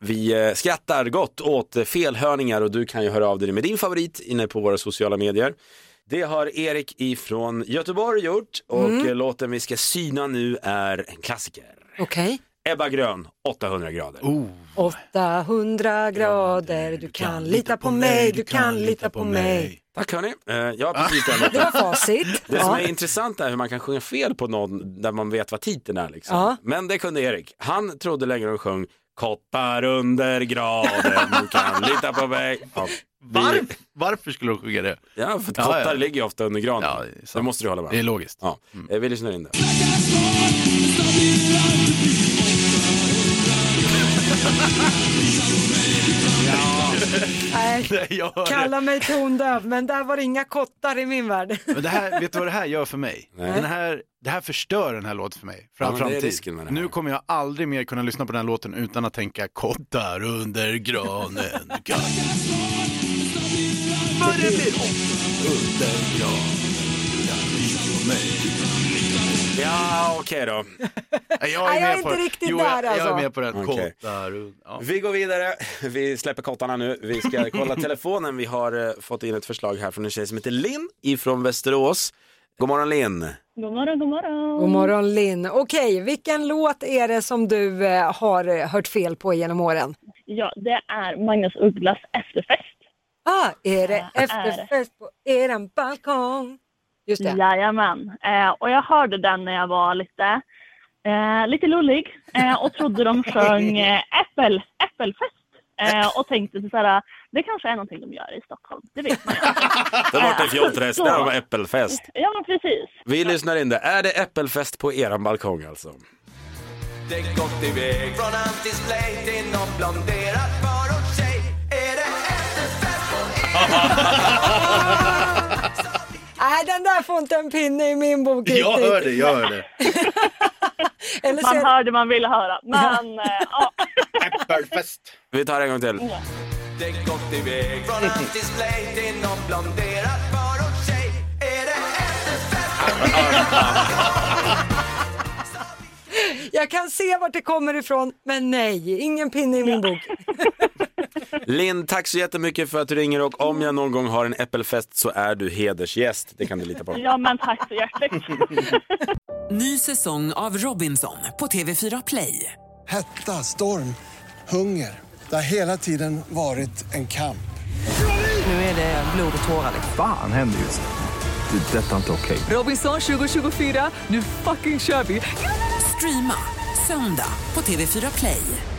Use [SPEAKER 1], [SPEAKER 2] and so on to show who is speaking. [SPEAKER 1] Vi eh, skrattar gott åt eh, felhörningar och du kan ju höra av dig med din favorit inne på våra sociala medier. Det har Erik ifrån Göteborg gjort och
[SPEAKER 2] Mm.
[SPEAKER 1] eh, låten vi ska syna nu är en klassiker.
[SPEAKER 2] Okej.
[SPEAKER 1] Ebba Grön, 800 grader.
[SPEAKER 3] Oh,
[SPEAKER 2] 800 grader, du kan lita på mig, du kan lita på mig.
[SPEAKER 1] Tack hörni. Eh, Ja, precis den
[SPEAKER 2] Det
[SPEAKER 1] låten.
[SPEAKER 2] var facit.
[SPEAKER 1] Det som
[SPEAKER 2] Ah. Ja.
[SPEAKER 1] är intressant är hur man kan sjunga fel på någon där man vet vad titeln är. Liksom.
[SPEAKER 2] Ja.
[SPEAKER 1] Men det kunde Erik. Han trodde länge de sjöng Kottar under graden, du kan lita på mig. Ja, vi-
[SPEAKER 3] Varför, varför skulle de sjunga det?
[SPEAKER 1] Ja, för att
[SPEAKER 3] Ja,
[SPEAKER 1] kottar
[SPEAKER 3] ja.
[SPEAKER 1] ligger ju ofta under granen.
[SPEAKER 3] Ja, det är
[SPEAKER 1] det,
[SPEAKER 3] sant.
[SPEAKER 1] måste du hålla med
[SPEAKER 3] Det är logiskt.
[SPEAKER 1] Ja. Eh, Vi lyssnar in det.
[SPEAKER 2] Nej,
[SPEAKER 3] Nej, jag hör det.
[SPEAKER 2] kalla mig tondöv, men där var det inga kottar i min värld.
[SPEAKER 3] Men det här, vet du vad det här gör för mig?
[SPEAKER 1] Nej.
[SPEAKER 3] Den här, det här förstör den här låten för mig. För
[SPEAKER 1] Ja,
[SPEAKER 3] all
[SPEAKER 1] men det är
[SPEAKER 3] framtid.
[SPEAKER 1] risken med det här.
[SPEAKER 3] Nu kommer jag aldrig mer kunna lyssna på den här låten utan att tänka kottar under granen. kan- För det blir åtta under granen.
[SPEAKER 1] Ja, okej då.
[SPEAKER 3] Nej,
[SPEAKER 2] Nej, jag är
[SPEAKER 3] med på
[SPEAKER 2] inte
[SPEAKER 3] den.
[SPEAKER 2] riktigt
[SPEAKER 3] jo, jag,
[SPEAKER 2] där, alltså.
[SPEAKER 3] Jag är med på den.
[SPEAKER 1] Okej.
[SPEAKER 3] Kottar under... Ja.
[SPEAKER 1] Vi går vidare. Vi släpper kottarna nu. Vi ska kolla telefonen. Vi har eh, fått in ett förslag här från en tjej som heter Linn ifrån Västerås. God morgon Linn.
[SPEAKER 4] God morgon, god morgon.
[SPEAKER 2] God morgon Linn. Okej, vilken låt är det som du eh, har eh, hört fel på genom åren?
[SPEAKER 4] Ja, det är Magnus Ugglas efterfest.
[SPEAKER 2] Ah, är det
[SPEAKER 4] Ja,
[SPEAKER 2] efterfest på eran balkong? Just det.
[SPEAKER 4] Jajamän. Eh, och jag hörde den när jag var lite, eh, lite lullig eh, och trodde de sjöng eh, äppel, äppelfest. Eh, och tänkte så här, det kanske är någonting de gör i Stockholm. Det vet man ju.
[SPEAKER 1] Där borta i Fjolträsk, där var äppelfest.
[SPEAKER 4] Ja, men precis.
[SPEAKER 1] Vi lyssnar in det. Är det äppelfest på eran balkong alltså?
[SPEAKER 5] Det gått iväg från hans display till någon blonderad far och tjej. Är det efterfest på er?
[SPEAKER 2] Nej, den där får inte en pinne i min bok
[SPEAKER 3] Jag
[SPEAKER 2] riktigt.
[SPEAKER 3] hör det, jag hör det.
[SPEAKER 2] Eller så
[SPEAKER 4] Man
[SPEAKER 2] är det-
[SPEAKER 4] hör det man vill höra. Men eh, ja,
[SPEAKER 3] Äppelfest.
[SPEAKER 1] Vi tar en gång till.
[SPEAKER 5] Det gått iväg från hans display till någon blonderad far och tjej. Är det efterfest på er?
[SPEAKER 2] Jag kan se vart det kommer ifrån, men nej, ingen pinne i min bok.
[SPEAKER 1] Linn, tack så jättemycket för att du ringer och om jag någon gång har en äppelfest så är du hedersgäst. Det kan du lita på.
[SPEAKER 4] ja, men tack så hjärtligt.
[SPEAKER 6] Ny säsong av Robinson på TV4 Play.
[SPEAKER 7] Hetta, storm, hunger. Det har hela tiden varit en kamp.
[SPEAKER 6] Nu är det blod och tårar.
[SPEAKER 8] Fan händer just nu. Det. är Detta är inte okej.
[SPEAKER 6] Robinson 2024, nu fucking kör vi! Streama söndag på TV4 Play.